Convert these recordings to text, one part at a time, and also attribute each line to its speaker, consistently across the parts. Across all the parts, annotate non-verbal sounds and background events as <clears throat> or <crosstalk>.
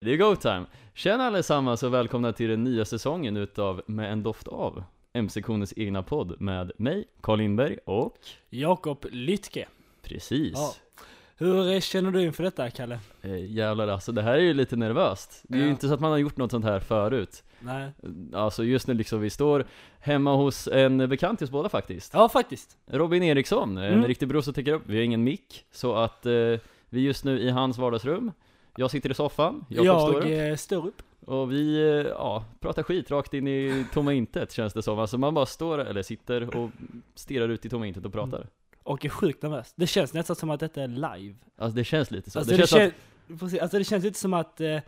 Speaker 1: Det är go time! Tjena allesammans och välkomna till den nya säsongen utav Med en doft av MC-konens egna podd med mig, Carl Lindberg och
Speaker 2: Jakob Lytke.
Speaker 1: precis
Speaker 2: Ja. Hur känner du inför detta, Kalle?
Speaker 1: eh, Jävlar alltså, det här är ju lite nervöst Det är ju
Speaker 2: Ja.
Speaker 1: inte så att man har gjort något sånt här förut
Speaker 2: Nej.
Speaker 1: Alltså just nu liksom, vi står hemma hos en bekant till oss båda faktiskt
Speaker 2: Ja, faktiskt.
Speaker 1: Robin Eriksson, en
Speaker 2: Mm.
Speaker 1: riktig bror som täcker upp, vi har ingen mick Så att eh, vi är just nu i hans vardagsrum Jag sitter i soffan, Jakob står upp.
Speaker 2: Jag eh, står upp.
Speaker 1: Och vi, eh, ja, pratar skit rakt in i tomma intet känns det som. Alltså man bara står, eller sitter och stirrar ut i tomma intet och pratar.
Speaker 2: och är sjukt nervös. Det känns nästan som att detta är live.
Speaker 1: Alltså det känns lite så.
Speaker 2: Alltså
Speaker 1: det
Speaker 2: det,
Speaker 1: känns
Speaker 2: kän- precis, alltså det känns lite som att eh,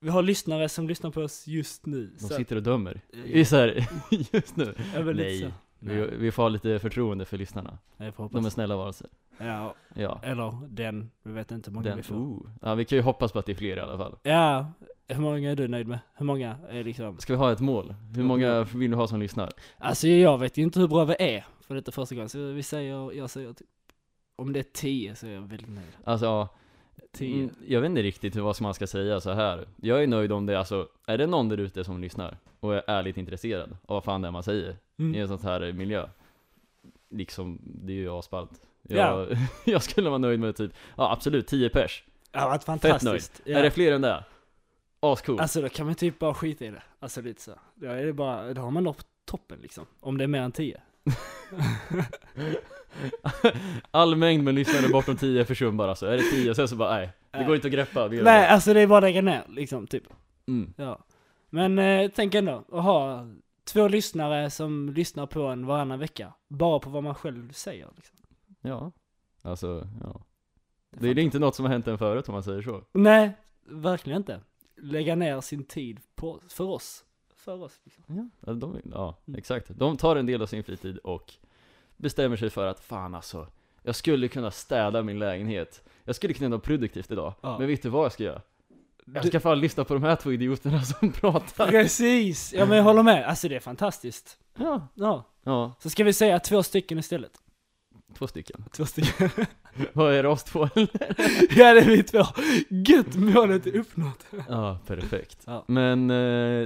Speaker 2: vi har lyssnare som lyssnar på oss just nu.
Speaker 1: att
Speaker 2: Så
Speaker 1: de
Speaker 2: att- eh,
Speaker 1: sitter och dömer. Det är så här, <laughs> just nu.
Speaker 2: är väl lite
Speaker 1: Nej.
Speaker 2: så.
Speaker 1: Vi,
Speaker 2: Nej,
Speaker 1: vi får ha lite förtroende för lyssnarna.
Speaker 2: jag får
Speaker 1: De är
Speaker 2: hoppas.
Speaker 1: snälla varelser.
Speaker 2: Ja,
Speaker 1: Ja.
Speaker 2: eller den. Vi vet inte hur många
Speaker 1: Den,
Speaker 2: vi får.
Speaker 1: oh. ja, vi kan ju hoppas på att det är fler i alla fall.
Speaker 2: Ja, hur många är du nöjd med? Hur många är liksom?
Speaker 1: Ska vi ha ett mål? Hur många vill du ha som lyssnar?
Speaker 2: Alltså jag vet ju inte hur bra vi är, för detta är första gången. Så vi säger, jag säger typ, om det är 10 så är jag väldigt nöjd.
Speaker 1: Alltså ja,
Speaker 2: 10.
Speaker 1: mm, jag vet inte riktigt vad som man ska säga så här. Jag är nöjd om det, alltså, är det någon där ute som lyssnar och är ärligt intresserad av vad fan det är man säger?
Speaker 2: Mm.
Speaker 1: i en sån här miljö Liksom, det är ju asballt jag, <laughs> jag skulle vara nöjd med typ, ja absolut 10 pers
Speaker 2: Det har varit
Speaker 1: nöjd.
Speaker 2: fantastiskt. Ja.
Speaker 1: Är det fler än det? Ascool
Speaker 2: Alltså då kan man typ bara skita i det. Alltså lite så. Då är det bara, då har man nått toppen liksom. Om det är mer än 10.
Speaker 1: <laughs> All mängd med lyssnare bortom 10 är försumbar alltså, är det 10 sen så bara nej, det går inte att greppa vi gör
Speaker 2: Nej,
Speaker 1: det.
Speaker 2: alltså det är bara att lägga ner liksom, typ.
Speaker 1: Mm.
Speaker 2: Ja. Men eh, tänk ändå, att ha två lyssnare som lyssnar på en varannan vecka. Bara på vad man själv säger liksom.
Speaker 1: Ja, alltså ja
Speaker 2: Det
Speaker 1: Det
Speaker 2: är
Speaker 1: är inte något som har hänt än förut om man säger så
Speaker 2: Nej, verkligen inte. Lägga ner sin tid på, för oss. För oss liksom.
Speaker 1: Ja, de, ja
Speaker 2: Mm.
Speaker 1: exakt. De tar en del av sin fritid och bestämmer sig för att fan alltså, jag skulle kunna städa min lägenhet. Jag skulle kunna vara produktivt idag,
Speaker 2: Ja.
Speaker 1: men vet du vad jag ska göra? Jag
Speaker 2: Du-
Speaker 1: ska fan lyssna på de här två idioterna som <laughs> pratar.
Speaker 2: Precis! Ja men jag håller med, alltså det är fantastiskt.
Speaker 1: Ja,
Speaker 2: Ja.
Speaker 1: ja
Speaker 2: Så ska vi säga två stycken istället.
Speaker 1: två stycken.
Speaker 2: Två stycken.
Speaker 1: Vad är det oss två <laughs> eller?
Speaker 2: <laughs> Ja det är vi två. Gött, målet är uppnått.
Speaker 1: Ja, perfekt.
Speaker 2: Ja.
Speaker 1: Men eh,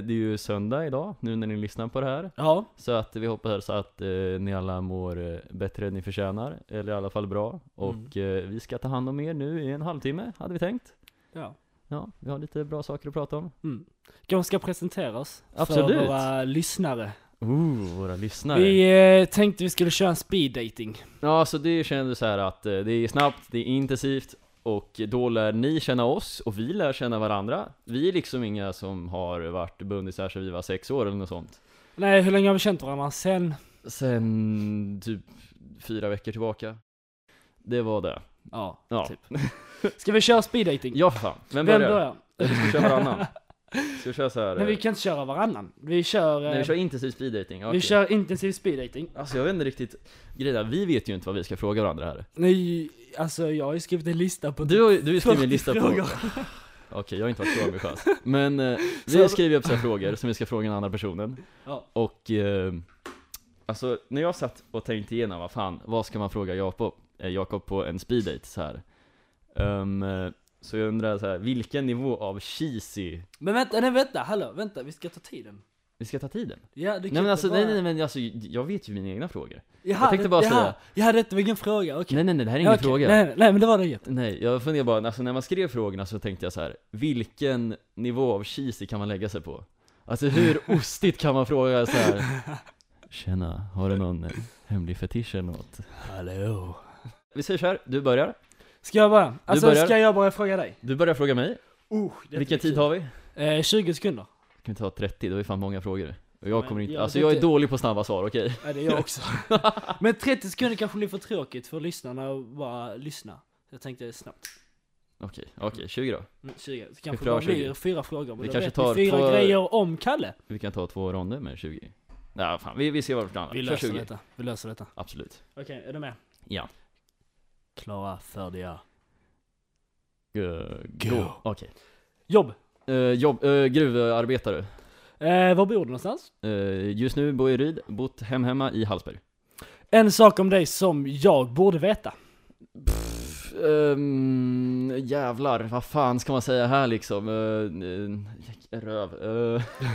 Speaker 1: det är ju söndag idag, nu när ni lyssnar på det här.
Speaker 2: Ja,
Speaker 1: Så att vi hoppas att eh, ni alla mår eh, bättre än ni förtjänar, eller i alla fall
Speaker 2: Mm.
Speaker 1: bra. Och eh, vi ska ta hand om er nu i en halvtimme, hade vi tänkt.
Speaker 2: ja.
Speaker 1: Ja, vi har lite bra saker att prata om.
Speaker 2: Mm. Kanske ska presentera oss
Speaker 1: Absolut.
Speaker 2: för våra lyssnare.
Speaker 1: Ooh, våra lyssnare.
Speaker 2: Vi eh, tänkte vi skulle köra en speed dating.
Speaker 1: Ja, så det kändes så här att eh, det är snabbt, det är intensivt och då lär ni känna oss och vi lär känna varandra. Vi är liksom inga som har varit bundisar sedan vi var sex år eller något sånt.
Speaker 2: Nej, hur länge har vi känt varandra sen?
Speaker 1: Sen typ fyra veckor tillbaka. Det var det.
Speaker 2: Ja,
Speaker 1: Ja.
Speaker 2: typ. Ska vi köra speed dating?
Speaker 1: Ja, för fan. Vem
Speaker 2: Vem
Speaker 1: börjar?
Speaker 2: börjar?
Speaker 1: Vi ska köra varannan. Ska vi köra så här?
Speaker 2: Nej, vi
Speaker 1: eh,
Speaker 2: kan inte köra varannan. Vi kör, eh,
Speaker 1: Nej, vi kör intensiv speeddating.
Speaker 2: vi kör intensiv speed dating.
Speaker 1: Alltså jag vet inte riktigt, grejen är, vi vet ju inte vad vi ska fråga varandra här.
Speaker 2: Nej, alltså jag har ju skrivit en lista på
Speaker 1: Du har <laughs> ju du har ju skrivit en
Speaker 2: 40
Speaker 1: lista på...
Speaker 2: frågor.
Speaker 1: Okej, jag har inte varit så
Speaker 2: <laughs>
Speaker 1: ambitiös. Men eh, vi
Speaker 2: Så-
Speaker 1: har skrivit upp så här frågor som vi ska fråga den andra personen.
Speaker 2: Ja.
Speaker 1: Och eh, alltså, när jag satt och tänkte igenom, vad fan, vad ska man fråga Jakob, eh, Jakob på en speeddate så här. Ehm, eh, så jag undrar så här, vilken nivå av cheesy,
Speaker 2: Men vänta, nej vänta, hallå, vänta, vi ska ta tiden.
Speaker 1: vi ska ta tiden?
Speaker 2: Ja, du kan
Speaker 1: Nej men
Speaker 2: inte
Speaker 1: alltså,
Speaker 2: bara...
Speaker 1: nej, nej men alltså, jag vet ju mina egna frågor.
Speaker 2: Jaha,
Speaker 1: jag tänkte
Speaker 2: det-
Speaker 1: bara
Speaker 2: jaha,
Speaker 1: säga-
Speaker 2: Jaha, detta var ingen fråga, okej.
Speaker 1: Nej nej nej, det här är ingen
Speaker 2: Okej,
Speaker 1: fråga.
Speaker 2: Nej, nej, men det var det inget.
Speaker 1: Nej, jag funderar bara, alltså när man skrev frågorna så tänkte jag så här, vilken nivå av cheesy kan man lägga sig på? Alltså
Speaker 2: <laughs>
Speaker 1: hur ostigt kan man fråga så här? Tjena, har du någon eh, hemlig fetisch eller något?
Speaker 2: Hallå.
Speaker 1: Vi säger så här, du börjar,
Speaker 2: Ska jag börja? Alltså
Speaker 1: börjar.
Speaker 2: ska jag börja fråga dig?
Speaker 1: du börjar fråga mig,
Speaker 2: Uh,
Speaker 1: vilken tid har vi? Kan
Speaker 2: Eh, 20 sekunder.
Speaker 1: vi ta 30, då är det fan många frågor och jag
Speaker 2: Men
Speaker 1: kommer inte,
Speaker 2: jag
Speaker 1: alltså
Speaker 2: vet
Speaker 1: jag är
Speaker 2: inte.
Speaker 1: dålig på snabba svar, okej?
Speaker 2: Ja, det är
Speaker 1: <laughs>
Speaker 2: jag också. men 30 sekunder kanske blir för tråkigt för lyssnarna att bara lyssna. Jag tänkte snabbt.
Speaker 1: Okej, okej, 20 då
Speaker 2: Mm, 20. Så kanske
Speaker 1: klarar
Speaker 2: bara blir
Speaker 1: 20.
Speaker 2: fyra frågor. Men
Speaker 1: Vi
Speaker 2: då
Speaker 1: kanske
Speaker 2: vet
Speaker 1: tar
Speaker 2: vi fyra
Speaker 1: två-
Speaker 2: grejer om Kalle.
Speaker 1: Vi kan ta två ronder med 20 Nej fan, vi, vi ser vad vi
Speaker 2: Vi
Speaker 1: planerar, kör
Speaker 2: löser
Speaker 1: 20
Speaker 2: detta. Vi löser detta.
Speaker 1: Absolut
Speaker 2: Okej, är du med?
Speaker 1: Ja,
Speaker 2: Klara, färdiga.
Speaker 1: Gå.
Speaker 2: Gå.
Speaker 1: okej
Speaker 2: Jobb.
Speaker 1: Eh, Jobb, eh, gruvarbetare
Speaker 2: Eh, var bor du någonstans?
Speaker 1: Eh, just nu bor jag i Ryd, bott hem hemma i Hallsberg.
Speaker 2: En sak om dig som jag borde veta.
Speaker 1: Ehm, jävlar, vad fan ska man säga här liksom? Eh, eh, röv. <laughs> eh.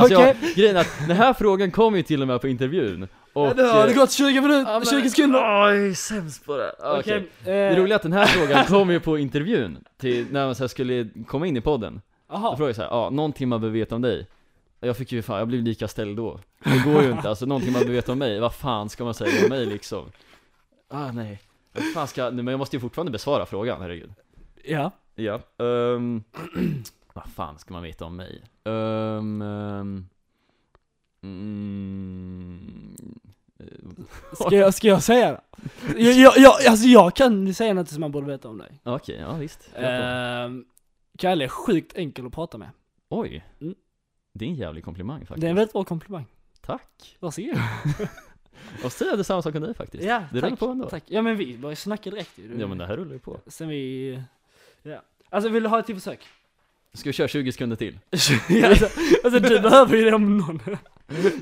Speaker 1: alltså
Speaker 2: Okej.
Speaker 1: jag, grejen är att den här frågan kom ju till och med på intervjun. Och,
Speaker 2: Ja, det har det
Speaker 1: eh,
Speaker 2: gått 20 minuter,
Speaker 1: ja, men-
Speaker 2: 20 sekunder!
Speaker 1: Åh, jag är sämst på det. Ah, Okej. Det
Speaker 2: eh,
Speaker 1: roliga är att den här frågan kom ju på intervjun, till, när man så här skulle komma in i podden. Jag
Speaker 2: Jaha,
Speaker 1: frågade såhär, ja, någonting man behöver veta om dig. Och Jag fick ju fan, jag blev lika ställd då. Det går ju inte, alltså någonting man behöver veta om mig, vad fan ska man säga om mig liksom? Ah nej. Vad fan ska, nej, men jag måste ju fortfarande besvara frågan, herregud.
Speaker 2: ja.
Speaker 1: Ja. ehm, vad fan ska man veta om mig? Um, um, mm, eh,
Speaker 2: Ska jag, ska jag säga det? Jag, jag, jag, alltså jag kan säga något som man borde veta om dig.
Speaker 1: eh, Okej, ja visst. Kör på.
Speaker 2: Ehm, Kalle är sjukt enkel att prata med.
Speaker 1: Oj.
Speaker 2: mm.
Speaker 1: Det är en jävlig komplimang faktiskt.
Speaker 2: Det är en väldigt bra komplimang.
Speaker 1: Tack.
Speaker 2: Varsågod.
Speaker 1: Och så säger jag detsamma sak om dig faktiskt.
Speaker 2: Ja,
Speaker 1: det rullar på ändå.
Speaker 2: Tack. Ja men vi började snacka direkt ju.
Speaker 1: Ja men det här rullar ju på.
Speaker 2: Sen vi, ja. Alltså vill du ha ett till försök? <laughs>
Speaker 1: Ska vi köra 20 sekunder till?
Speaker 2: alltså, alltså du behöver ju det om någon.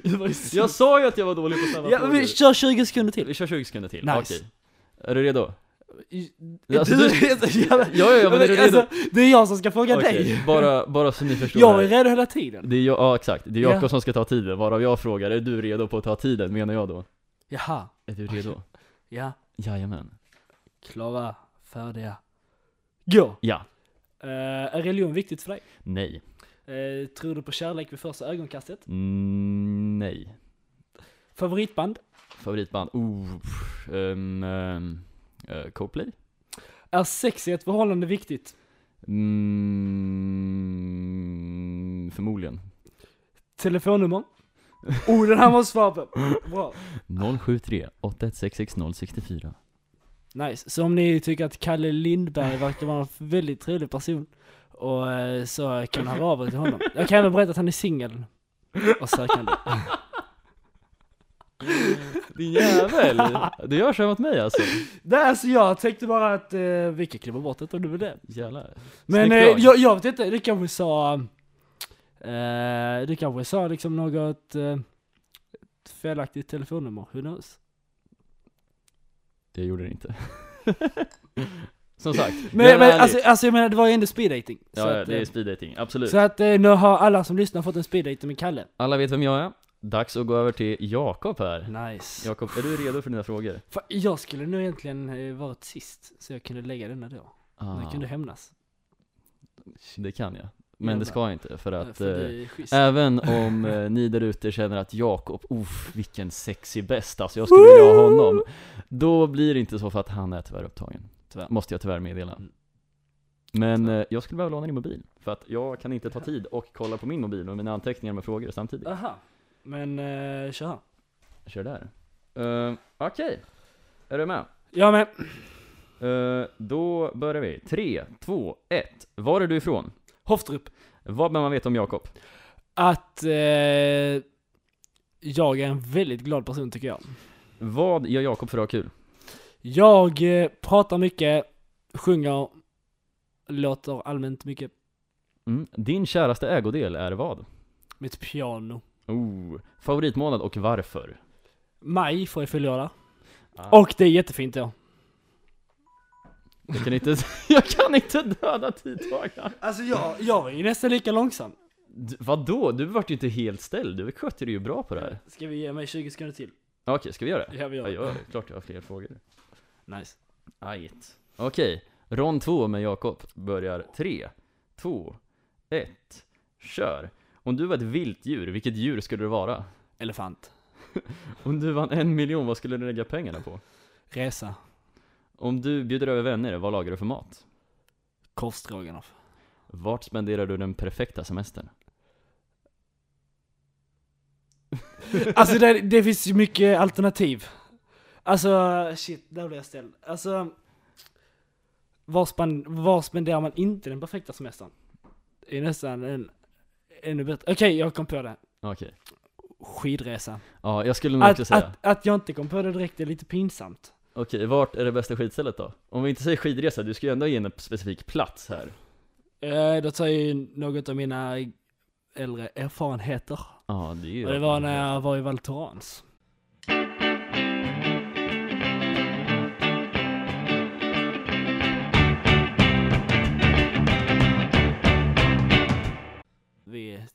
Speaker 2: Du var ju
Speaker 1: <laughs>
Speaker 2: så-
Speaker 1: Jag sa ju att jag var dålig på snabba
Speaker 2: ja, men
Speaker 1: frågor.
Speaker 2: vi kör 20 sekunder till.
Speaker 1: Vi kör 20 sekunder till,
Speaker 2: Nice.
Speaker 1: okej. Är du redo? Alltså,
Speaker 2: Alltså,
Speaker 1: du-
Speaker 2: du är <laughs> så jävla...
Speaker 1: Ja, ja, ja, men är du redo?
Speaker 2: alltså, det är jag som ska fråga
Speaker 1: Okej,
Speaker 2: dig.
Speaker 1: bara, bara så ni förstår.
Speaker 2: Jag är
Speaker 1: här.
Speaker 2: redo hela tiden.
Speaker 1: det är jag, ja exakt, det är Jakob
Speaker 2: Ja.
Speaker 1: som ska ta tiden, varav jag frågar, är du redo på att ta tiden, menar jag då?
Speaker 2: Jaha,
Speaker 1: Är du redo?
Speaker 2: ja.
Speaker 1: Jajamän.
Speaker 2: Klara, färdiga, gå!
Speaker 1: Ja.
Speaker 2: Eh, är religion viktigt för dig?
Speaker 1: Nej.
Speaker 2: Eh, tror du på kärlek vid första ögonkastet?
Speaker 1: Mm, nej.
Speaker 2: Favoritband?
Speaker 1: Favoritband? Oh, pff, ehm, ehm, eh, Coldplay?
Speaker 2: Är sex i ett förhållande viktigt?
Speaker 1: Mm, förmodligen.
Speaker 2: Telefonnummer?
Speaker 1: <laughs>
Speaker 2: Oh, den här måste jag svara på! Bra!
Speaker 1: 073 8166
Speaker 2: Nice, så om ni tycker att Kalle Lindberg verkar vara en väldigt trevlig person och eh, så kan ni höra av er till honom. Jag kan även berätta att han är singel och sökande.
Speaker 1: Din
Speaker 2: <laughs>
Speaker 1: jävel! Du gör så mot mig alltså.
Speaker 2: Nej så jag tänkte bara att eh, vi kan klippa bort det om du vill det.
Speaker 1: Jävlar.
Speaker 2: Men eh,
Speaker 1: eh, Snyggt drag.
Speaker 2: jag, jag vet inte, du kanske sa, eh, du kanske sa liksom något eh, ett felaktigt telefonnummer, who knows?
Speaker 1: Jag gjorde det inte. <laughs> Som sagt,
Speaker 2: Men,
Speaker 1: jag är
Speaker 2: men
Speaker 1: ärlig.
Speaker 2: alltså, alltså jag menar det var ju ändå speed dating. så
Speaker 1: ja, ja,
Speaker 2: att,
Speaker 1: det är
Speaker 2: eh,
Speaker 1: speed dating, absolut.
Speaker 2: så att eh, nu har alla som lyssnar fått en speed dating med Kalle.
Speaker 1: Alla vet vem jag är. Dags att gå över till Jakob här.
Speaker 2: Nice.
Speaker 1: Jakob, är du redo för dina frågor?
Speaker 2: Fan, jag skulle nog egentligen eh, varit sist, så jag kunde lägga denna då. Men
Speaker 1: Ah.
Speaker 2: Jag kunde hämnas.
Speaker 1: det kan jag. Men det ska jag inte, för
Speaker 2: Eh,
Speaker 1: att
Speaker 2: för
Speaker 1: eh,
Speaker 2: det är schysst.
Speaker 1: Även om eh, ni där ute känner att Jakob, uff vilken sexy bäst alltså, jag skulle vilja ha honom Då blir det inte så för att han är tyvärr upptagen
Speaker 2: Tyvärr.
Speaker 1: Måste jag tyvärr meddela
Speaker 2: Mm.
Speaker 1: Men
Speaker 2: Tyvärr.
Speaker 1: eh, jag skulle behöva låna din mobil För att jag kan inte ta tid och kolla på min mobil och mina anteckningar med frågor samtidigt
Speaker 2: Aha. Men eh, kör här.
Speaker 1: Kör där Eh, Okej, är du med?
Speaker 2: Jag med.
Speaker 1: Eh, då börjar vi, Tre, två, ett. Var är du ifrån?
Speaker 2: Hoftrup.
Speaker 1: Vad behöver man veta om Jakob?
Speaker 2: Att eh, jag är en väldigt glad person tycker jag.
Speaker 1: Vad gör Jakob för att ha kul?
Speaker 2: Jag eh, pratar mycket, sjunger, låter allmänt mycket.
Speaker 1: Mm. Din käraste ägodel är vad?
Speaker 2: Mitt piano.
Speaker 1: Oh, favoritmånad och varför?
Speaker 2: Maj får jag fullgöra.
Speaker 1: Ah.
Speaker 2: Och det är jättefint då.
Speaker 1: Jag kan inte, <laughs> jag kan inte döda tidtagarna!
Speaker 2: Alltså jag, jag är ju nästan lika långsam.
Speaker 1: D- Vadå? Du vart ju inte helt ställd, du skötte dig ju bra på det här.
Speaker 2: Ska vi ge mig 20 sekunder till?
Speaker 1: Okej, ska vi göra det?
Speaker 2: Ja vi
Speaker 1: Ja,
Speaker 2: gör det.
Speaker 1: gör det. Klart jag har fler frågor.
Speaker 2: Nice.
Speaker 1: Ajt. Okej, rond två med Jakob börjar tre, två, ett, kör! Om du var ett vilt djur, vilket djur skulle du vara?
Speaker 2: Elefant.
Speaker 1: Om du vann en miljon, vad skulle du lägga pengarna på?
Speaker 2: Resa.
Speaker 1: Om du bjuder över vänner, vad lagar du för mat?
Speaker 2: Korvstroganoff.
Speaker 1: Vart spenderar du den perfekta semestern?
Speaker 2: Alltså det, det finns ju mycket alternativ. Alltså shit, där blev jag ställd. Alltså, var, span, var spenderar man inte den perfekta semestern? Det är nästan en, ännu bättre. Okej, jag kom på det.
Speaker 1: Okej.
Speaker 2: Skidresa.
Speaker 1: Ja, Mm, jag skulle nog också
Speaker 2: Att,
Speaker 1: säga.
Speaker 2: att, att jag inte kom på det direkt är lite pinsamt.
Speaker 1: Okej, vart är det bästa skidstället då? Om vi inte säger skidresa, du ska ju ändå ge en specifik plats här.
Speaker 2: Eh, Då tar jag ju något av mina äldre erfarenheter.
Speaker 1: Ja, det är ju...
Speaker 2: Och det var när jag var i Val Thorens.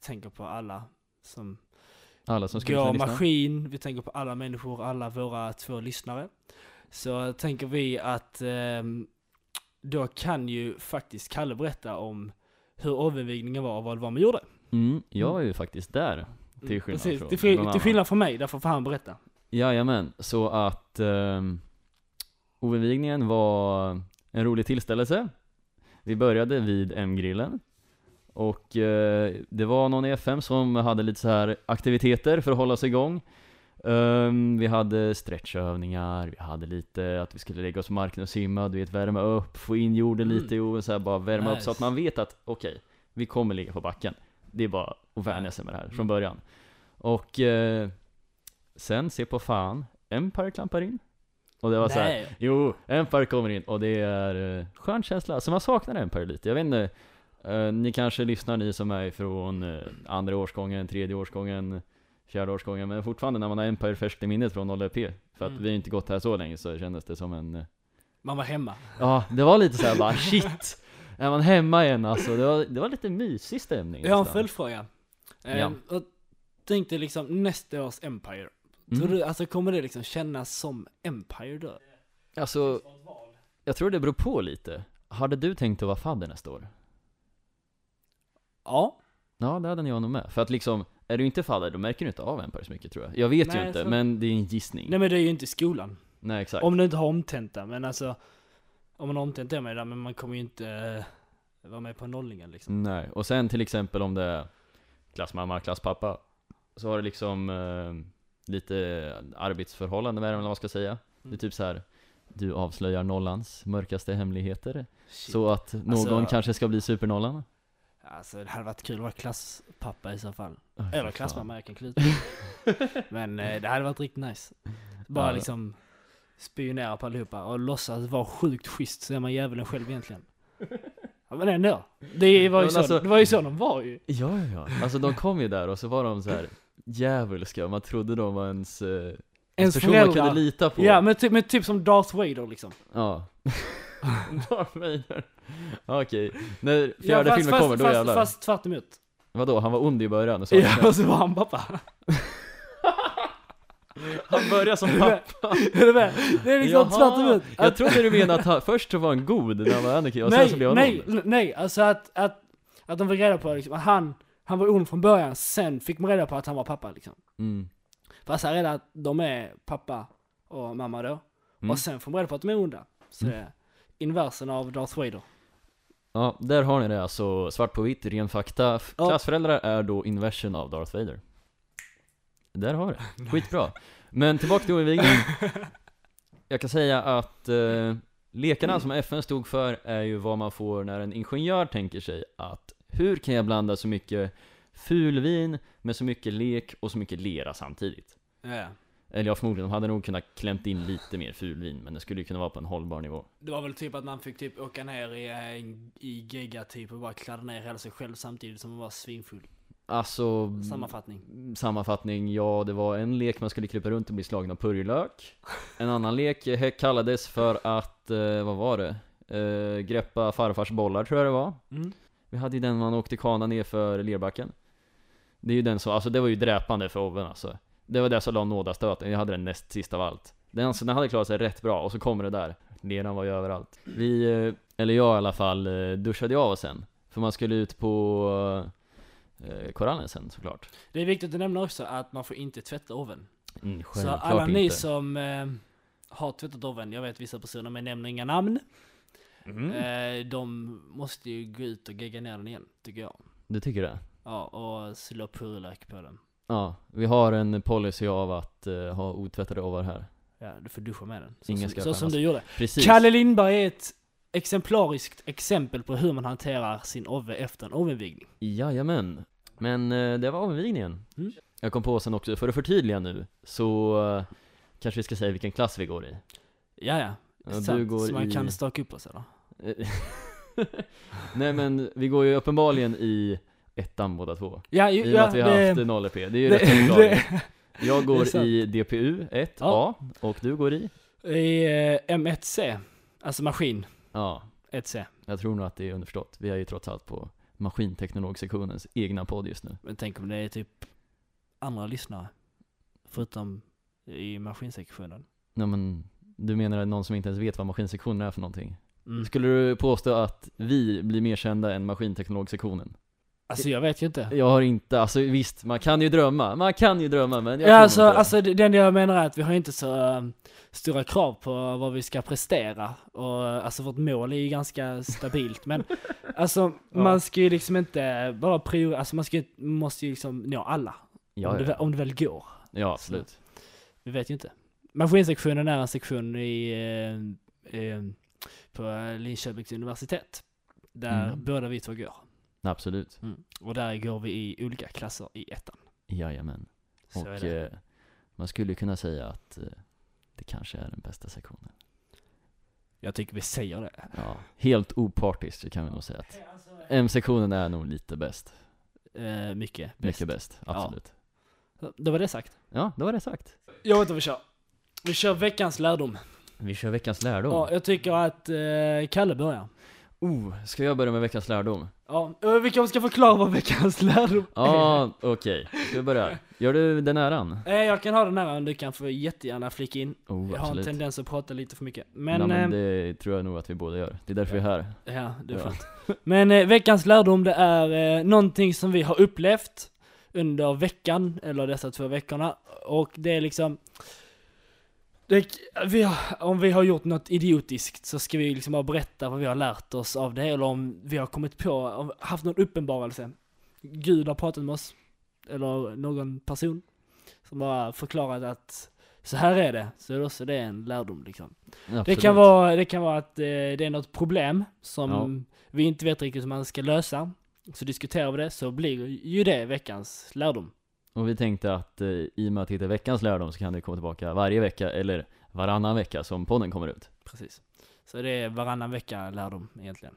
Speaker 2: tänker på alla som
Speaker 1: Alla som skulle
Speaker 2: Gå
Speaker 1: kunna lyssna.
Speaker 2: maskin, vi tänker på alla människor, alla våra två lyssnare. Så tänker vi att ehm, då kan ju faktiskt Kalle berätta om hur ovinvigningen var och vad det var man gjorde.
Speaker 1: Mm, jag var ju faktiskt där. Till skillnad
Speaker 2: Precis,
Speaker 1: från
Speaker 2: till, fri-
Speaker 1: någon annan.
Speaker 2: till skillnad från mig, därför får han berätta.
Speaker 1: Jajamän, så att um, oinvigningen var en rolig tillställelse. Vi började vid M-grillen och eh, det var någon i FM som hade lite så här aktiviteter för att hålla sig igång. Ehm, vi hade stretchövningar, vi hade lite att vi skulle lägga oss på marken och simma, du vet värma upp, få in jorden lite och så här bara värma upp så
Speaker 2: Nice.
Speaker 1: att man vet att okej, vi kommer ligga på backen. Det är bara att vänja sig med det här från början. Och eh, sen, se på fan, Empire klampar in. Och det var så här,
Speaker 2: Nej.
Speaker 1: jo, Empire kommer in och det är eh, skön känsla. Alltså man saknar Empire lite, jag vet inte. Eh, ni kanske lyssnar ni som är från eh, andra årsgången, tredje årsgången, fjärde årsgången. Men fortfarande när man har Empire färskt i minnet från 0 P För att
Speaker 2: Mm.
Speaker 1: vi har inte gått här så länge så kändes det som en eh,
Speaker 2: Man var hemma.
Speaker 1: Ja, det var lite såhär
Speaker 2: <laughs>
Speaker 1: bara shit Är man hemma igen alltså? Det var, det var lite mysig stämning
Speaker 2: Jag har en
Speaker 1: nästan.
Speaker 2: följdfråga.
Speaker 1: Ja.
Speaker 2: Ja. Och tänkte liksom nästa års Empire.
Speaker 1: Mm.
Speaker 2: Tror du, alltså kommer det liksom kännas som Empire då?
Speaker 1: Alltså, jag tror det beror på lite Hade du tänkt att vara fadder nästa år?
Speaker 2: Ja.
Speaker 1: Ja, det hade jag nog med För att liksom, är du inte fadder då märker du inte av Empire så mycket tror jag Jag vet ju
Speaker 2: Nej,
Speaker 1: inte,
Speaker 2: så-
Speaker 1: men det är en gissning
Speaker 2: Nej men det är ju inte i skolan.
Speaker 1: Nej exakt
Speaker 2: Om du inte har omtenta, men alltså Om man har omtenta är man ju där, men man kommer ju inte eh, vara med på nollningen liksom
Speaker 1: Nej, och sen till exempel om det är klassmamma, klasspappa Så har det liksom eh, lite arbetsförhållande med det, eller vad man ska säga Det är
Speaker 2: Mm.
Speaker 1: typ så här. Du avslöjar nollans mörkaste hemligheter
Speaker 2: Shit.
Speaker 1: Så att någon
Speaker 2: Alltså-
Speaker 1: kanske ska bli supernollan?
Speaker 2: Alltså det hade varit kul att vara klasspappa i så fall
Speaker 1: Aj,
Speaker 2: Eller
Speaker 1: fy
Speaker 2: klassmamma, jag kan kluta
Speaker 1: <laughs>
Speaker 2: Men eh, det hade varit riktigt nice Bara
Speaker 1: Ja.
Speaker 2: liksom Spionera på allihopa och låtsas vara sjukt schysst så är man djävulen själv egentligen ja, Men ändå, det var, ju
Speaker 1: Men
Speaker 2: så,
Speaker 1: alltså-
Speaker 2: det var ju så de var ju
Speaker 1: Ja, ja, ja. Alltså de kom ju där och så var de så här
Speaker 2: <clears throat>
Speaker 1: djävulska, man trodde de var ens, eh,
Speaker 2: Ens
Speaker 1: person man kunde
Speaker 2: föräldrar
Speaker 1: lita på.
Speaker 2: Ja men, typ- men typ som Darth Vader liksom
Speaker 1: ja.
Speaker 2: <laughs>
Speaker 1: Darth Vader. Ja, Okej, när
Speaker 2: Ja,
Speaker 1: fjärde
Speaker 2: fast-
Speaker 1: filmen
Speaker 2: fast-
Speaker 1: kommer då
Speaker 2: fast,
Speaker 1: jävlar.
Speaker 2: Fast tvärt emot
Speaker 1: Vadå, han var ond i början och så
Speaker 2: Ja, <laughs> och så var han pappa.
Speaker 1: Han började som <laughs> pappa.
Speaker 2: Är du med? <laughs> Det är liksom
Speaker 1: Jaha.
Speaker 2: tvärtom.
Speaker 1: Jag trodde du menade att han, först så var han god när han var Anakin och sen så blev
Speaker 2: Nej,
Speaker 1: han
Speaker 2: nej,
Speaker 1: ond.
Speaker 2: l- nej, alltså att, att, att de fick reda på liksom, att han, han var ond från början, sen fick man reda på att han var pappa liksom.
Speaker 1: Mm.
Speaker 2: Fast här är det att de är pappa och mamma då.
Speaker 1: Mm.
Speaker 2: Och sen får man reda på att de är onda. Så det är inversen av Darth Vader.
Speaker 1: Ja, där har ni det alltså, svart på vitt, ren fakta. F-
Speaker 2: Ja.
Speaker 1: Klassföräldrar är då inversion av Darth Vader. Där har vi det. Skitbra. Men tillbaka till oinvigningen. Jag kan säga att eh, lekarna som FN stod för är ju vad man får när en ingenjör tänker sig att hur kan jag blanda så mycket fulvin med så mycket lek och så mycket lera samtidigt?
Speaker 2: Ja.
Speaker 1: Eller ja, förmodligen, de hade nog kunnat klämt in lite mer fulvin, men det skulle ju kunna vara på en hållbar nivå.
Speaker 2: Det var väl typ att man fick typ åka ner i, en- i gegga typ och bara kladda ner hela sig själv samtidigt som man var svinfull.
Speaker 1: Alltså...
Speaker 2: Sammanfattning.
Speaker 1: Sammanfattning, ja det var en lek man skulle krypa runt och bli slagen av purjolök En annan lek he- kallades för att, eh, vad var det? Eh, greppa farfars bollar tror jag det var
Speaker 2: Mm.
Speaker 1: Vi hade ju den man åkte kana ner för lerbacken Det är ju den som, alltså det var ju dräpande för Oven alltså Det var det som la nådastöten, jag hade den näst sist av allt den, alltså, den hade klarat sig rätt bra och så kommer det där Leran var ju överallt Vi, eh, eller jag i alla fall, eh, duschade jag av sen För man skulle ut på eh, korallen sen såklart
Speaker 2: Det är viktigt att nämna också att man får inte tvätta oven.
Speaker 1: Mm,
Speaker 2: Så
Speaker 1: självklart
Speaker 2: alla ni
Speaker 1: inte.
Speaker 2: som eh, har tvättat oven, jag vet vissa personer men nämner inga namn.
Speaker 1: Mm.
Speaker 2: Eh, de måste ju gå ut och gegga ner den igen, tycker jag.
Speaker 1: Du tycker det?
Speaker 2: Ja, och slå purjolök på den.
Speaker 1: Ja, vi har en policy av att eh, ha otvättade ovar här.
Speaker 2: Ja, du får duscha med den. Så,
Speaker 1: Ingen ska
Speaker 2: som- så som
Speaker 1: skämmas.
Speaker 2: du gjorde.
Speaker 1: Precis.
Speaker 2: Kalle Lindberg är ett exemplariskt exempel på hur man hanterar sin ove efter en ovenvigning.
Speaker 1: Jajamän. Men eh, det var avvigningen.
Speaker 2: Mm.
Speaker 1: Jag kom på sen också, för att förtydliga nu, så eh, kanske vi ska säga vilken klass vi går i.
Speaker 2: Ja, ja.
Speaker 1: Ja,
Speaker 2: Sant. så man
Speaker 1: i-
Speaker 2: kan staka upp oss eller?
Speaker 1: Nej men, vi går ju uppenbarligen i ettan båda två.
Speaker 2: Ja,
Speaker 1: I
Speaker 2: ju,
Speaker 1: och med
Speaker 2: ja
Speaker 1: att vi har
Speaker 2: det,
Speaker 1: haft 0 p Det är ju
Speaker 2: <laughs> det-
Speaker 1: rätt förklarat. Jag
Speaker 2: det är
Speaker 1: går
Speaker 2: sant.
Speaker 1: i DPU 1A, och du går i?
Speaker 2: i eh, M1C, alltså maskin
Speaker 1: Ja,
Speaker 2: 1C.
Speaker 1: Jag tror nog att det är underförstått. Vi är ju trots allt på maskinteknologsektionens egna podd just nu.
Speaker 2: Men tänk om det är typ andra lyssnare. Förutom i maskinsektionen.
Speaker 1: Nej men, du menar någon som inte ens vet vad maskinsektionen är för någonting?
Speaker 2: Mm.
Speaker 1: Skulle du påstå att vi blir mer kända än maskinteknologsektionen?
Speaker 2: Alltså jag vet ju inte.
Speaker 1: Jag har inte, alltså visst, man kan ju drömma, man kan ju drömma men jag
Speaker 2: Ja,
Speaker 1: tror
Speaker 2: alltså,
Speaker 1: inte det.
Speaker 2: alltså det det enda jag menar är att vi har inte så eh, stora krav på vad vi ska prestera. Och eh, alltså vårt mål är ju ganska
Speaker 1: <laughs>
Speaker 2: stabilt. men alltså
Speaker 1: Ja.
Speaker 2: man ska ju liksom inte bara prioritera, alltså man ska, ju- måste ju liksom nå alla. om,
Speaker 1: ja,
Speaker 2: Det,
Speaker 1: ja.
Speaker 2: väl- om det väl går.
Speaker 1: ja, absolut.
Speaker 2: Vi vet ju inte. Maskinsektionen är en sektion i, eh, eh, på Linköpings universitet. Där
Speaker 1: Mm.
Speaker 2: båda vi två går.
Speaker 1: Absolut.
Speaker 2: Och där går vi i olika klasser i ettan.
Speaker 1: Jajamän.
Speaker 2: Så är
Speaker 1: Och
Speaker 2: det.
Speaker 1: eh, man skulle kunna säga att eh, det kanske är den bästa sektionen.
Speaker 2: Jag tycker vi säger det.
Speaker 1: Ja, helt opartiskt så kan vi nog säga att
Speaker 2: Alltså-
Speaker 1: M-sektionen är nog lite bäst.
Speaker 2: Eh, mycket.
Speaker 1: Mycket bäst, absolut.
Speaker 2: Då var det sagt.
Speaker 1: Ja, då var det sagt.
Speaker 2: Jag vet inte vad vi kör. Vi kör veckans lärdom.
Speaker 1: Oh. Vi kör veckans lärdom.
Speaker 2: Ja, jag tycker att eh, Kalle börjar.
Speaker 1: Oh, ska jag börja med veckans lärdom?
Speaker 2: <laughs> Ja, eh, vi kanske ska förklara vad veckans lärdom
Speaker 1: Ja, okej. Ska vi börja? Gör du den äran?
Speaker 2: är. Eh, jag kan ha den här om du kan få jättegärna flika in.
Speaker 1: Oh,
Speaker 2: Jag har en
Speaker 1: absolut.
Speaker 2: tendens att prata lite för mycket. Men,
Speaker 1: Men, Nej, men
Speaker 2: eh,
Speaker 1: det tror jag nog att vi båda gör. Det är därför vi är här.
Speaker 2: ja, det är
Speaker 1: Ja.
Speaker 2: skönt. Men eh, veckans lärdom det är eh, någonting som vi har upplevt under veckan, eller dessa två veckorna. Och det är liksom det, vi har, om vi har gjort något idiotiskt så ska vi liksom bara berätta vad vi har lärt oss av det, eller om vi har kommit på, om, haft någon uppenbarelse. Gud har pratat med oss, eller någon person, som har förklarat att så här är det, så också det är en lärdom liksom. Det
Speaker 1: Absolut.
Speaker 2: kan, vara, det kan vara att eh, det är något problem som
Speaker 1: Ja.
Speaker 2: vi inte vet riktigt hur man ska lösa. Så diskuterar vi det, så blir ju det veckans lärdom.
Speaker 1: Och vi tänkte att eh, i och med att det är veckans lärdom så kan det komma tillbaka varje vecka eller varannan vecka som podden kommer ut.
Speaker 2: Precis. Så det är varannan vecka lärdom egentligen.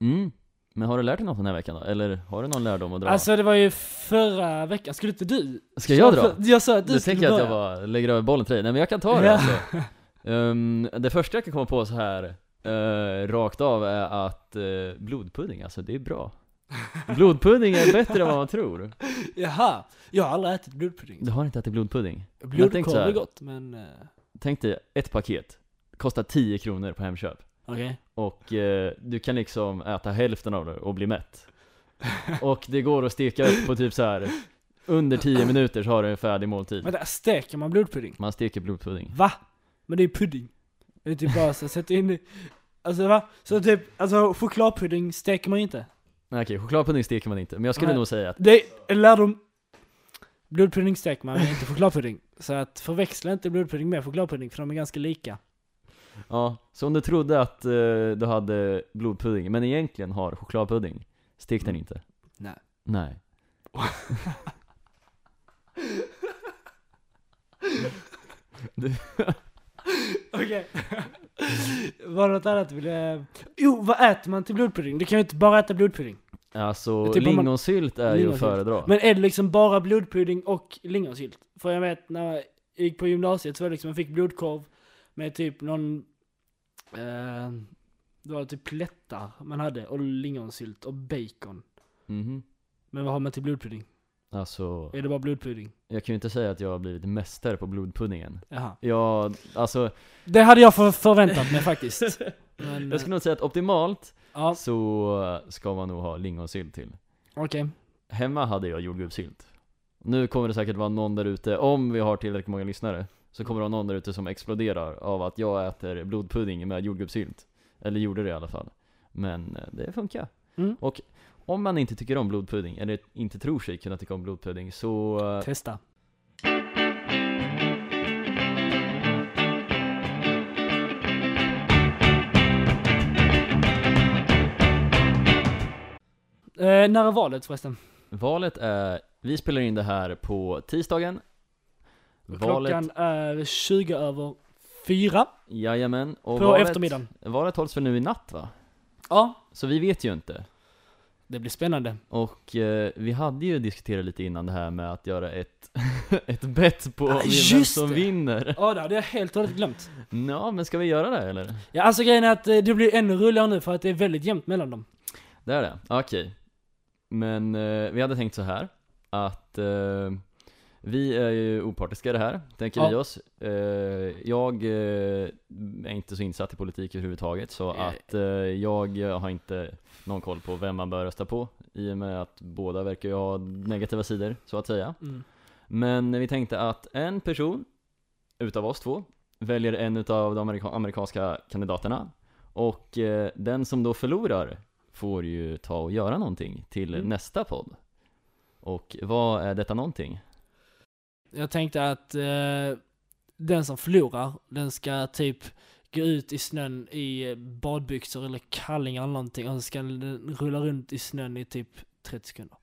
Speaker 1: Mm. Men har du lärt dig något den här veckan då? Eller har du någon lärdom att dra?
Speaker 2: Alltså det var ju förra veckan, skulle inte du?
Speaker 1: Ska jag dra?
Speaker 2: Jag sa att du
Speaker 1: Du
Speaker 2: skulle
Speaker 1: tänker jag att jag
Speaker 2: börja.
Speaker 1: bara lägger över bollen till dig? Nej men jag kan ta det
Speaker 2: Ja.
Speaker 1: alltså.
Speaker 2: <laughs>
Speaker 1: Ehm, Det första jag kan komma på så här eh, rakt av är att eh, blodpudding, alltså det är bra. Blodpudding är bättre än vad man tror.
Speaker 2: Jaha, jag har aldrig ätit blodpudding.
Speaker 1: Du har inte ätit blodpudding? tänkte så
Speaker 2: Blodkorv
Speaker 1: här.
Speaker 2: är gott men... eh,
Speaker 1: Tänk dig ett paket, kostar 10 kronor på Hemköp.
Speaker 2: Okej.
Speaker 1: Och eh, du kan liksom äta hälften av det och bli mätt. Och det går att steka upp på typ så här under 10 minuter så har du en färdig måltid.
Speaker 2: Vänta, steker man blodpudding?
Speaker 1: Man steker blodpudding.
Speaker 2: Va? Men det är ju pudding. Det är typ bara så, sätt in... Alltså va? Så typ, alltså chokladpudding steker man ju inte.
Speaker 1: Nej okej, chokladpudding steker man inte, men jag skulle
Speaker 2: Nej.
Speaker 1: nog säga att
Speaker 2: Det är lärdom. Blodpudding steker man, men inte chokladpudding. Så att förväxla inte blodpudding med chokladpudding, för de är ganska lika.
Speaker 1: Ja, så om du trodde att eh, du hade blodpudding, men egentligen har chokladpudding, stek
Speaker 2: Mm.
Speaker 1: den inte?
Speaker 2: Nej.
Speaker 1: Nej.
Speaker 2: Okej. <laughs> Var det något annat du ville... Jo, vad äter man till blodpudding? Du kan ju inte bara äta blodpudding.
Speaker 1: Alltså,
Speaker 2: Typ om man-
Speaker 1: lingonsylt är ju att
Speaker 2: Lingonsylt.
Speaker 1: föredra.
Speaker 2: Men är det liksom bara blodpudding och lingonsylt? För jag vet, när jag gick på gymnasiet så var det liksom, jag fick blodkorv med typ någon... Eh, det var typ plättar man hade, och lingonsylt och bacon.
Speaker 1: Mhm.
Speaker 2: Men vad har man till blodpudding?
Speaker 1: Alltså,
Speaker 2: Är det bara blodpudding?
Speaker 1: jag kan ju inte säga att jag har blivit mästare på blodpuddingen.
Speaker 2: Jaha.
Speaker 1: Jag, alltså,
Speaker 2: Det hade jag för förväntat mig
Speaker 1: <laughs>
Speaker 2: faktiskt. Men,
Speaker 1: jag skulle nog säga att optimalt
Speaker 2: ja,
Speaker 1: så ska man nog ha lingonsylt till.
Speaker 2: okej.
Speaker 1: Hemma hade jag jordgubbssylt. Nu kommer det säkert vara någon där ute, om vi har tillräckligt många lyssnare, så kommer det vara någon där ute som exploderar av att jag äter blodpudding med jordgubbssylt. Eller gjorde det i alla fall. Men eh, det funkar.
Speaker 2: Mm.
Speaker 1: Och om man inte tycker om blodpudding, eller inte tror sig kunna tycka om blodpudding, så... eh,
Speaker 2: Testa. Eh, när är valet förresten?
Speaker 1: Valet är... Vi spelar in det här på tisdagen. Valet...
Speaker 2: Klockan är 20 över 4
Speaker 1: Jajamän. Och
Speaker 2: på
Speaker 1: valet,
Speaker 2: eftermiddagen.
Speaker 1: Valet hålls väl nu i natt va?
Speaker 2: Ja,
Speaker 1: Så vi vet ju inte.
Speaker 2: det blir spännande.
Speaker 1: Och eh, vi hade ju diskuterat lite innan det här med att göra ett, <laughs> ett bett på
Speaker 2: Ah,
Speaker 1: vem
Speaker 2: just
Speaker 1: som
Speaker 2: det.
Speaker 1: vinner.
Speaker 2: Ja, det hade jag helt och hållet glömt.
Speaker 1: Ja, men ska vi göra det eller?
Speaker 2: Ja, alltså grejen är att eh, det blir ännu roligare nu för att det är väldigt jämnt mellan dem.
Speaker 1: Det är det? Okej. Men eh, vi hade tänkt så här att eh, vi är ju opartiska i det här, tänker
Speaker 2: Ja.
Speaker 1: vi oss. Eh, jag eh, är inte så insatt i politik överhuvudtaget så
Speaker 2: Eh.
Speaker 1: att eh, jag har inte någon koll på vem man bör rösta på i och med att båda verkar ju ha negativa sidor, så att säga.
Speaker 2: Mm.
Speaker 1: Men vi tänkte att en person utav oss två väljer en utav de amerika- amerikanska kandidaterna och eh, den som då förlorar får ju ta och göra någonting till
Speaker 2: Mm.
Speaker 1: nästa podd. Och vad är detta någonting?
Speaker 2: Jag tänkte att eh, den som förlorar, den ska typ gå ut i snön i badbyxor eller kallingar eller någonting och så ska den rulla runt i snön i typ 30 sekunder.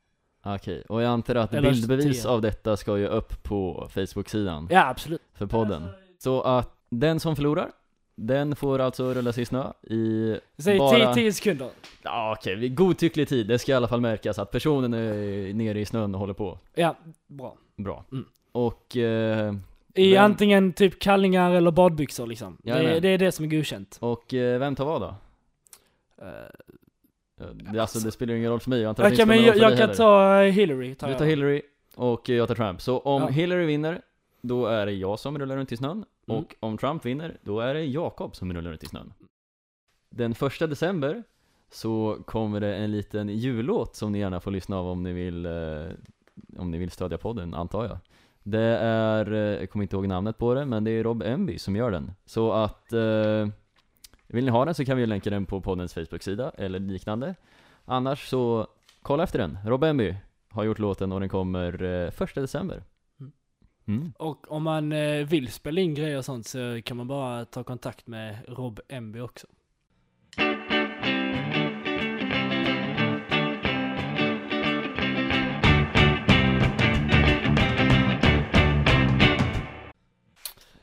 Speaker 1: Okej, och jag antar att
Speaker 2: Eller
Speaker 1: bildbevis
Speaker 2: tio.
Speaker 1: av detta ska ju upp på Facebook-sidan
Speaker 2: Ja, absolut.
Speaker 1: för podden. Så att den som förlorar, den får alltså rulla sig i snö i
Speaker 2: Säg
Speaker 1: Bara-
Speaker 2: 10 sekunder.
Speaker 1: Ja okej, okay. godtycklig tid. Det ska i alla fall märkas att personen är nere i snön och håller på.
Speaker 2: Ja, bra.
Speaker 1: Bra.
Speaker 2: Mm.
Speaker 1: Och eh,
Speaker 2: I
Speaker 1: Vem-
Speaker 2: antingen typ kallingar eller badbyxor liksom. Det,
Speaker 1: Jajamän.
Speaker 2: det är det som är godkänt.
Speaker 1: Och eh, vem tar vad då? Eh, det- Alltså det spelar ju ingen roll för mig, jag antar att det
Speaker 2: Okej,
Speaker 1: inte
Speaker 2: men
Speaker 1: spelar
Speaker 2: jag,
Speaker 1: någon roll för
Speaker 2: jag kan
Speaker 1: dig heller.
Speaker 2: ta eh, Hillary. Tar
Speaker 1: Du
Speaker 2: jag.
Speaker 1: tar Hillary och eh, jag tar Trump. Så om
Speaker 2: Ja.
Speaker 1: Hillary vinner, då är det jag som rullar runt i snön.
Speaker 2: Mm.
Speaker 1: Och om Trump vinner, då är det Jakob som rullar runt i snön. Den första december så kommer det en liten jullåt som ni gärna får lyssna av om ni vill, eh, om ni vill stödja podden, antar jag. Det är, eh, jag kommer inte ihåg namnet på det, men det är Rob Emby som gör den. Så att eh, vill ni ha den så kan vi länka den på poddens Facebook-sida eller liknande. Annars så kolla efter den. Rob Emby har gjort låten och den kommer eh, första december.
Speaker 2: Mm.
Speaker 1: Mm.
Speaker 2: Och om man eh, vill spela in grejer och sånt så kan man bara ta kontakt med Rob Emby också.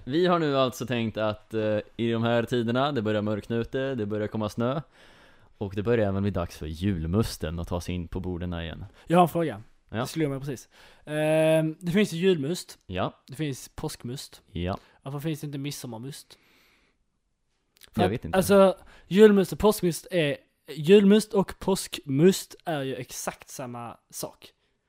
Speaker 1: Vi har nu alltså tänkt att eh, i de här tiderna, det börjar mörkna ute, det börjar komma snö och det börjar även bli dags för julmusten att ta sig in på borden igen.
Speaker 2: Jag har en fråga.
Speaker 1: Ja.
Speaker 2: Det slog mig precis. Eh, det finns ju julmust,
Speaker 1: Ja,
Speaker 2: det finns påskmust.
Speaker 1: ja,
Speaker 2: Varför finns det inte midsommarmust? För
Speaker 1: jag
Speaker 2: att,
Speaker 1: vet inte.
Speaker 2: Alltså, julmust och påskmust är... Julmust och påskmust är ju exakt samma sak.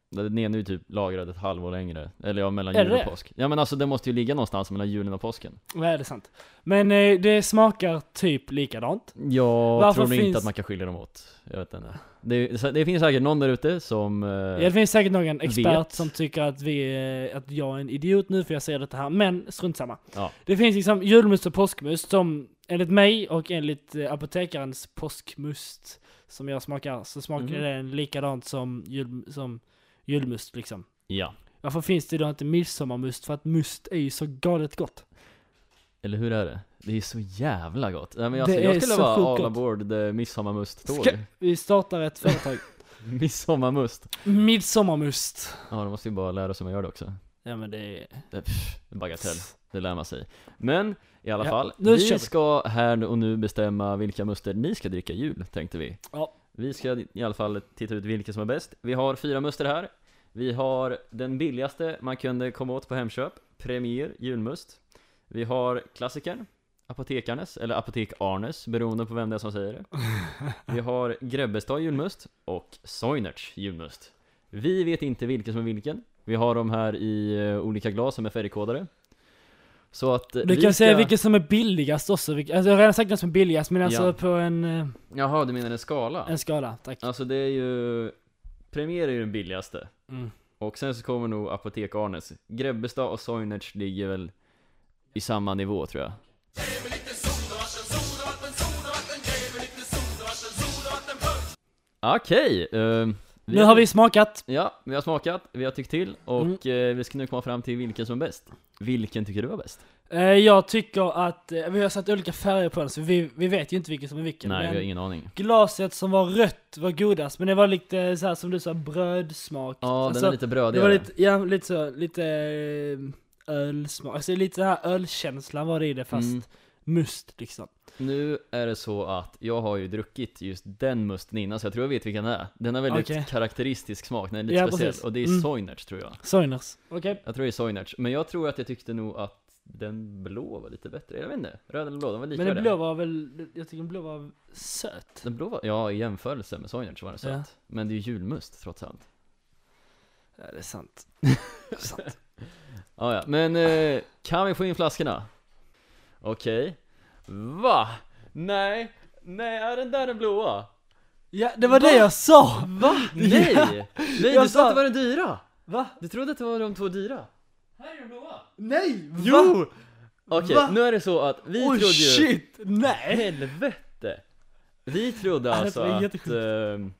Speaker 1: Den är nu typ lagrad ett halvår längre, eller ja, mellan
Speaker 2: Är
Speaker 1: jul
Speaker 2: det?
Speaker 1: och påsk. Ja men alltså det måste ju ligga någonstans mellan julen och påsken.
Speaker 2: Nej, det är sant. Men eh, det smakar typ likadant.
Speaker 1: Jag
Speaker 2: Varför
Speaker 1: tror nog
Speaker 2: finns-
Speaker 1: inte att man kan skilja dem åt. Jag vet inte. Det, det finns säkert någon där ute som... eh,
Speaker 2: Ja, det finns säkert någon expert
Speaker 1: Vet.
Speaker 2: som tycker att, vi, eh, att jag är en idiot nu för jag säger detta här, men strunt samma.
Speaker 1: Ja.
Speaker 2: Det finns liksom julmust och påskmust som enligt mig och enligt eh, apotekarens påskmust som jag smakar så smakar
Speaker 1: Mhm.
Speaker 2: den likadant som, jul, som julmust liksom.
Speaker 1: ja.
Speaker 2: Varför finns det då inte midsommarmust? För att must är ju så galet gott.
Speaker 1: Eller hur är det? Det är så jävla gott. Nej, men alltså,
Speaker 2: Det
Speaker 1: jag
Speaker 2: är
Speaker 1: skulle
Speaker 2: så
Speaker 1: vara
Speaker 2: sjukt
Speaker 1: all
Speaker 2: gott.
Speaker 1: aboard eh, midsommarmust-tåg.
Speaker 2: Ska- Vi startar ett företag.
Speaker 1: <laughs> Midsommarmust.
Speaker 2: Midsommarmust.
Speaker 1: Ja, då måste vi bara lära oss hur man gör det också.
Speaker 2: Ja men det är...
Speaker 1: Det, pff, bagatell. Det lär man sig. Men i alla
Speaker 2: Ja,
Speaker 1: fall,
Speaker 2: nu kör vi.
Speaker 1: vi ska här och nu bestämma vilka muster ni ska dricka i jul, tänkte vi.
Speaker 2: Ja.
Speaker 1: Vi ska i alla fall titta ut vilka som är bäst. Vi har fyra muster här. Vi har den billigaste man kunde komma åt på Hemköp, Premier julmust. Vi har klassikern, Apotekarnes, eller Apotek Arnes, beroende på vem det är som säger det.
Speaker 2: <laughs>
Speaker 1: Vi har Grebbestad julmust och Soinerts julmust. Vi vet inte vilken som är vilken. Vi har dem här i eh, olika glas som är färgkodade. Så att eh,
Speaker 2: Du
Speaker 1: vi
Speaker 2: kan
Speaker 1: ska-
Speaker 2: säga vilken som är billigast också. Vilk- Alltså, jag har redan sagt den som är billigast men alltså
Speaker 1: Ja.
Speaker 2: på en, eh,
Speaker 1: Jaha, du menar en skala?
Speaker 2: en skala. Tack.
Speaker 1: Alltså det är ju... Premier är ju den billigaste.
Speaker 2: Mm.
Speaker 1: Och sen så kommer nog Apotek Arnes. Grebbestad och Soinerts ligger väl i samma nivå tror jag. Okej! eh, vi
Speaker 2: Nu har vi smakat.
Speaker 1: Ja, vi har smakat, vi har tyckt till och
Speaker 2: Mm.
Speaker 1: eh, vi ska nu komma fram till vilken som är bäst. Vilken tycker du var bäst?
Speaker 2: Eh, Jag tycker att, eh, vi har satt olika färger på den så vi, vi vet ju inte vilken som är vilken.
Speaker 1: Nej,
Speaker 2: men
Speaker 1: vi har ingen aning.
Speaker 2: Glaset som var rött var godast, men det var lite så här som du sa, brödsmak.
Speaker 1: Ja,
Speaker 2: Alltså,
Speaker 1: den är lite
Speaker 2: Det var
Speaker 1: brödigare.
Speaker 2: lite, ja, lite så, lite eh, ölsmak, alltså lite så här ölkänslan var det i det fast
Speaker 1: Mm.
Speaker 2: must liksom.
Speaker 1: Nu är det så att jag har ju druckit just den musten innan så jag tror jag vet vilken det är. Den har väldigt
Speaker 2: Okej.
Speaker 1: karaktäristisk smak, den är lite
Speaker 2: Ja,
Speaker 1: speciell.
Speaker 2: precis.
Speaker 1: Och det är
Speaker 2: Mm.
Speaker 1: Soinerts tror jag.
Speaker 2: Soiners. Okej.
Speaker 1: Jag tror det är Soinerts, men jag tror att jag tyckte nog att den blå var lite bättre, jag vet inte, röd eller blå, de var
Speaker 2: Men
Speaker 1: likvärdiga
Speaker 2: den blå var väl, jag tycker den blå var söt.
Speaker 1: Den blå var, ja i jämförelse med Soinerts var den söt
Speaker 2: Ja.
Speaker 1: Men det är ju julmust trots allt
Speaker 2: Ja, det är sant. sant.
Speaker 1: ah, ja. men eh, kan vi få in flaskorna? Okej Va? Nej, nej är den där den blåa?
Speaker 2: Ja, det var det jag sa!
Speaker 1: Va?
Speaker 2: <laughs>
Speaker 1: Nej! Nej
Speaker 2: Jag
Speaker 1: du sa
Speaker 2: sa-
Speaker 1: att det var den dyra!
Speaker 2: Va?
Speaker 1: Du trodde att det var de två dyra? Här är den blåa!
Speaker 2: Nej! Va?
Speaker 1: Jo! Okej,
Speaker 2: Va?
Speaker 1: nu är det så att vi
Speaker 2: Oj
Speaker 1: trodde ju...
Speaker 2: shit! Nej!
Speaker 1: Helvete! Vi trodde
Speaker 2: Ja, det
Speaker 1: alltså
Speaker 2: var
Speaker 1: att
Speaker 2: jättesjukt.
Speaker 1: ehm,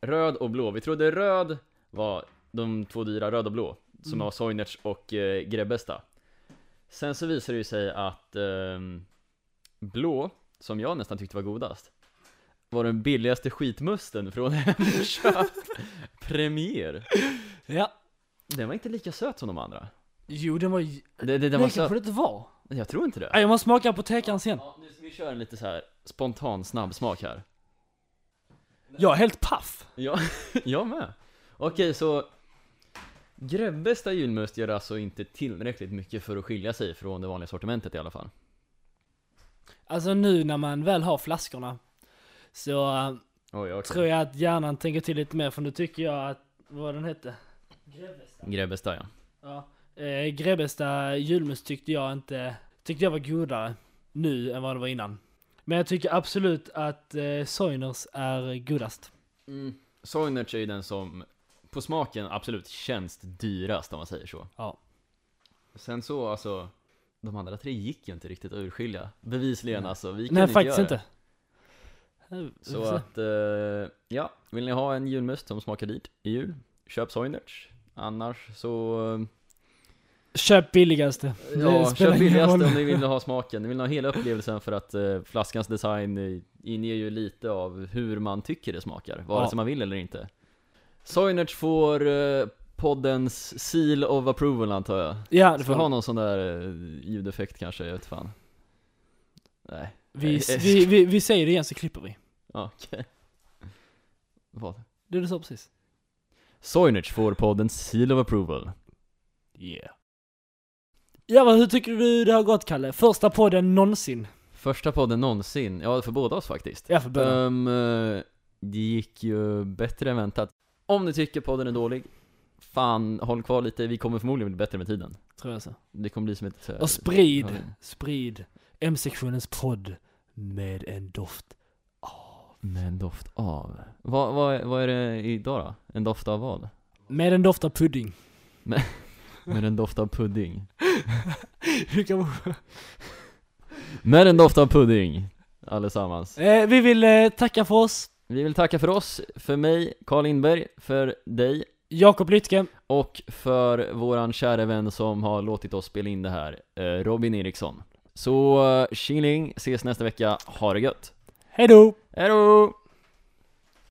Speaker 1: röd och blå, vi trodde röd var de två dyra, röd och blå, som
Speaker 2: Mm.
Speaker 1: var Soinerts och eh, Grebbestad. Sen så visade det ju sig att ehm, blå, som jag nästan tyckte var godast, var den billigaste skitmusten från <laughs> Hemköp Premier.
Speaker 2: Ja.
Speaker 1: Den var inte lika söt som de andra.
Speaker 2: Jo den var ju...
Speaker 1: Det, det, den var
Speaker 2: Nej kanske
Speaker 1: söt.
Speaker 2: det inte var.
Speaker 1: Jag tror inte det.
Speaker 2: Nej, jag måste smaka apotekaren sen.
Speaker 1: Ja, nu, vi kör en lite så här spontan snabbsmak här.
Speaker 2: Jag är helt paff.
Speaker 1: Ja, <laughs> jag med. Okej, så Grebbestad julmust gör alltså inte tillräckligt mycket för att skilja sig från det vanliga sortimentet i alla fall.
Speaker 2: Alltså nu när man väl har flaskorna så eh,
Speaker 1: Oj, okej.
Speaker 2: tror jag att hjärnan tänker till lite mer för nu tycker jag att, vad den hette? Grebbestad.
Speaker 1: Grebbestad ja.
Speaker 2: Ja. Eh, Grebbestad julmust tyckte jag inte, tyckte jag var godare nu än vad det var innan. Men jag tycker absolut att eh, Soiners är godast.
Speaker 1: Mm. Soinerts är ju den som på smaken absolut känns dyrast om man säger så.
Speaker 2: Ja.
Speaker 1: Sen så alltså, de andra tre gick ju inte riktigt att urskilja. Bevisligen alltså, vi kan
Speaker 2: Nej
Speaker 1: inte
Speaker 2: faktiskt
Speaker 1: göra
Speaker 2: inte.
Speaker 1: Det. Så att, eh, ja, vill ni ha en julmust som smakar dyrt i jul? Köp Soinerts. Annars så eh,
Speaker 2: Köp billigaste. Det
Speaker 1: Ja,
Speaker 2: spelar
Speaker 1: köp
Speaker 2: ingen
Speaker 1: billigast
Speaker 2: roll.
Speaker 1: om ni vill ha smaken, ni vill ha hela upplevelsen för att eh, flaskans design eh, inger ju lite av hur man tycker det smakar, vare
Speaker 2: Ja.
Speaker 1: sig man vill eller inte Soinerts får eh, poddens seal of approval antar jag
Speaker 2: Ja,
Speaker 1: Ska
Speaker 2: det får
Speaker 1: vi
Speaker 2: ha
Speaker 1: ha någon sån där eh, ljudeffekt kanske, jag vet fan Nej, eh.
Speaker 2: vi, vi, vi, vi säger det igen så klipper vi.
Speaker 1: ja, okej Vad?
Speaker 2: Det du sa precis.
Speaker 1: Soinerts får poddens seal of approval
Speaker 2: Yeah. Ja, vad, hur tycker du det har gått Kalle? Första podden någonsin.
Speaker 1: Första podden någonsin, ja för båda oss faktiskt
Speaker 2: Ja, för början.
Speaker 1: Ehm, eh, det gick ju bättre än väntat. Om ni tycker podden är dålig, fan håll kvar lite, vi kommer förmodligen bli bättre med tiden.
Speaker 2: tror jag så.
Speaker 1: Det kommer bli som ett... eh,
Speaker 2: Och sprid,
Speaker 1: ja,
Speaker 2: sprid M-sektionens podd med en doft.
Speaker 1: Med en doft av. Vad, vad, vad är det idag då? En doft av vad?
Speaker 2: Med en doft
Speaker 1: <laughs>
Speaker 2: av pudding.
Speaker 1: Med en doft av pudding.
Speaker 2: Hur kan man-
Speaker 1: Med en doft av pudding, allesammans.
Speaker 2: eh, vi vill eh, tacka för oss.
Speaker 1: Vi vill tacka för oss, för mig, Carl Lindberg, för dig
Speaker 2: Jakob Lytke.
Speaker 1: och för våran kära vän som har låtit oss spela in det här, eh, Robin Eriksson. Så, eh, tjingeling, ses nästa vecka, ha det gött!
Speaker 2: Hej då!
Speaker 1: Hello.